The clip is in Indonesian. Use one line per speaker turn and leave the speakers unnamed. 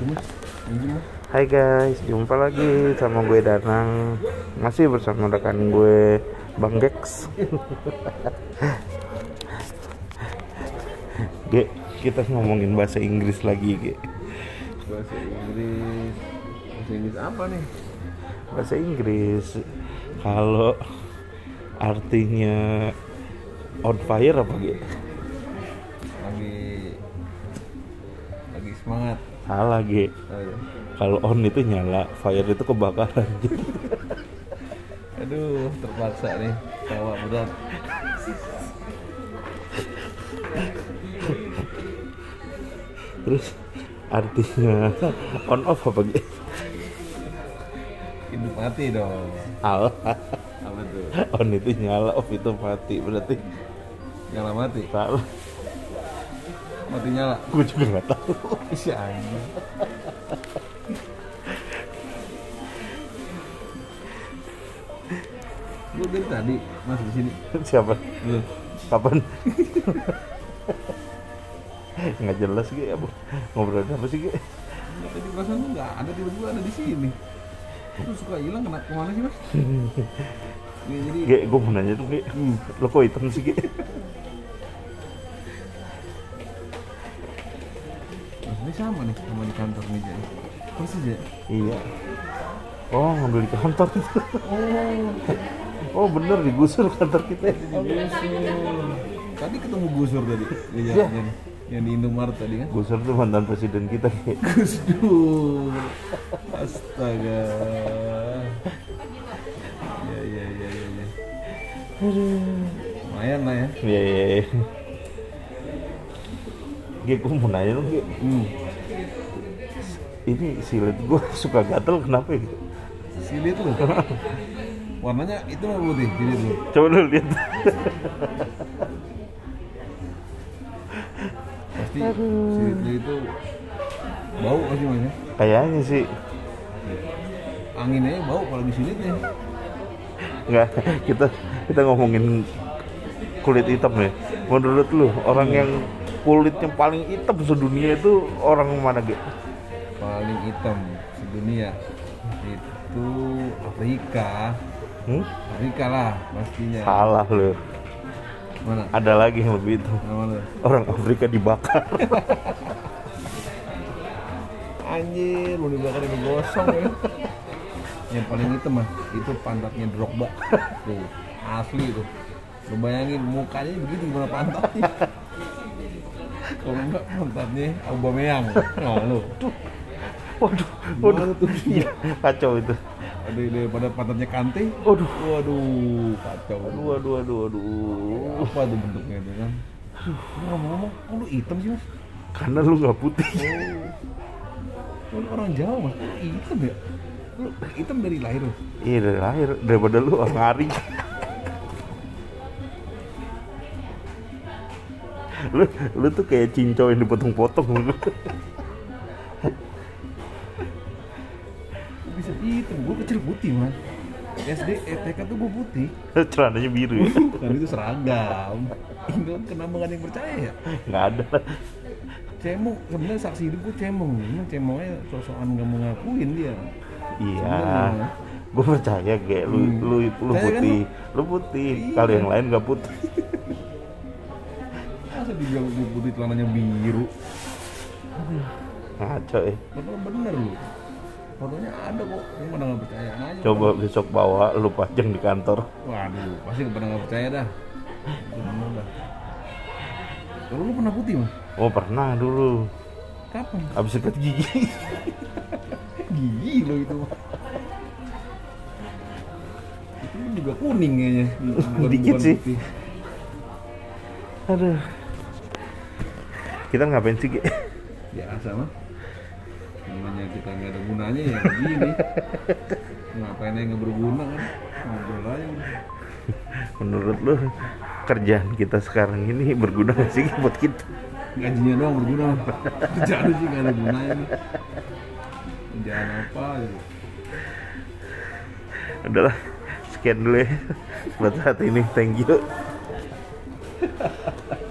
Sini, anjing mah.
Hai guys, jumpa lagi sama gue Danang Masih bersama rekan gue Bang Gex Ge, kita ngomongin bahasa Inggris lagi Ge
Bahasa Inggris. Bahasa Inggris apa nih?
Bahasa Inggris Kalau artinya on fire apa Ge?
Lagi lagi semangat.
Salah Ge
Oh, iya.
Kalau on itu nyala, fire itu kebakaran
Aduh, terpaksa nih. Tawa berat.
Terus artinya on off apa Ge?
Hidup mati dong.
Alah
Apa tuh?
on Oh, itu nyala off itu mati berarti
Nyala mati.
salah
Mati nyala. Oh,
gue juga nggak tahu
Si anjing. Gue dari tadi masuk di sini.
siapa
Lu
kapan nggak jelas gitu ya bu ngobrol apa sih gitu
Tadi perasaan lu nggak ada tiba-tiba ada di sini. Lu suka hilang kena kemana sih mas? Ya, jadi
gue gue mau nanya tuh gitu
hmm,
lo kok hitam sih gitu
nah, ini sama nih sama di kantor nih jadi. Persis ya.
iya oh ngambil di kantor itu oh
Oh,
bener digusur kantor kita
Gusur. Tadi ketemu Gusur tadi di jalan yang di Indomaret tadi kan.
gusur tuh mantan presiden kita Ge.
Gus Dur. Astaga. Ya ya ya ya. ya. Lumayan lah ya.
iya iya iya Ge, gue mau nanya dong Ge.
Hmm.
ini silet gue suka gatel kenapa ya Ge?
Silit lu. Warnanya itu mah putih, jadi lu.
coba lu lihat
Pasti silit lu itu bau pasti mas ya.
kayaknya sih
Anginnya bau kalau di silitnya.
Nggak, kita kita ngomongin kulit hitam ya. Menurut lu orang yang kulitnya paling hitam sedunia itu orang mana gitu?
Paling hitam sedunia itu Afrika.
Hmm?
Afrika lah pastinya.
Salah lu.
Mana?
Ada lagi yang lebih itu.
Nama lu?
Orang Afrika dibakar.
Anjir, mau dibakar ini gosong ya. Yang paling hitam mah itu pantatnya Drogba. Tuh, asli tuh. Lu bayangin mukanya begitu gimana pantatnya. Kalau enggak pantatnya Aubameyang. Nah, lu.
Waduh,
Gimana tuh?
Iya, kacau itu.
Aduh, daripada pantatnya Kante.
Waduh,
Waduh, kacau.
aduh, aduh, aduh, aduh.
Apa tuh bentuknya itu kan? Lu ngomong-ngomong, kok lu hitam sih mas?
Karena lu nggak putih.
Lu orang Jawa mas, lu hitam ya? Lu hitam dari lahir mas?
Iya dari lahir daripada lu orang hari. lu lu tuh kayak cincau yang dipotong-potong lu.
Gua bisa hitam gue kecil putih man SD eh, TK tuh gue putih
celananya biru ya
kan itu seragam Indo kenapa gak ada yang percaya ya
nggak ada
cemong sebenarnya saksi hidup gue cemong cuma cemongnya sosokan gak mau ngakuin dia
iya
Sebenarnya.
gue percaya ge lu
Hmm.
lu lu
Percaya kan
putih lu putih
Iya.
kalau yang lain nggak putih
masa dibilang gue putih celananya biru
ngaco ya
padahal bener lu fotonya ada kok yang pada gak percaya aja
coba besok bawa lu pajang di kantor
waduh pasti pada gak percaya dah Itu bener dah kalau lu pernah putih mas
oh pernah dulu
kapan
abis sikat gigi
gigi lo itu mah. itu mah juga kuning kayaknya bukan-
Dikit
bukan
sih.
putih.
aduh kita ngapain sih ge
biasa mah namanya kita nggak ada gunanya ya begini ngapain yang nggak berguna kan ngobrol aja udah.
menurut lu kerjaan kita sekarang ini berguna nggak sih Ge, buat kita
gajinya doang berguna kerjaan sih nggak ada gunanya nih. kerjaan apa gitu
adalah sekian dulu ya buat saat ini thank you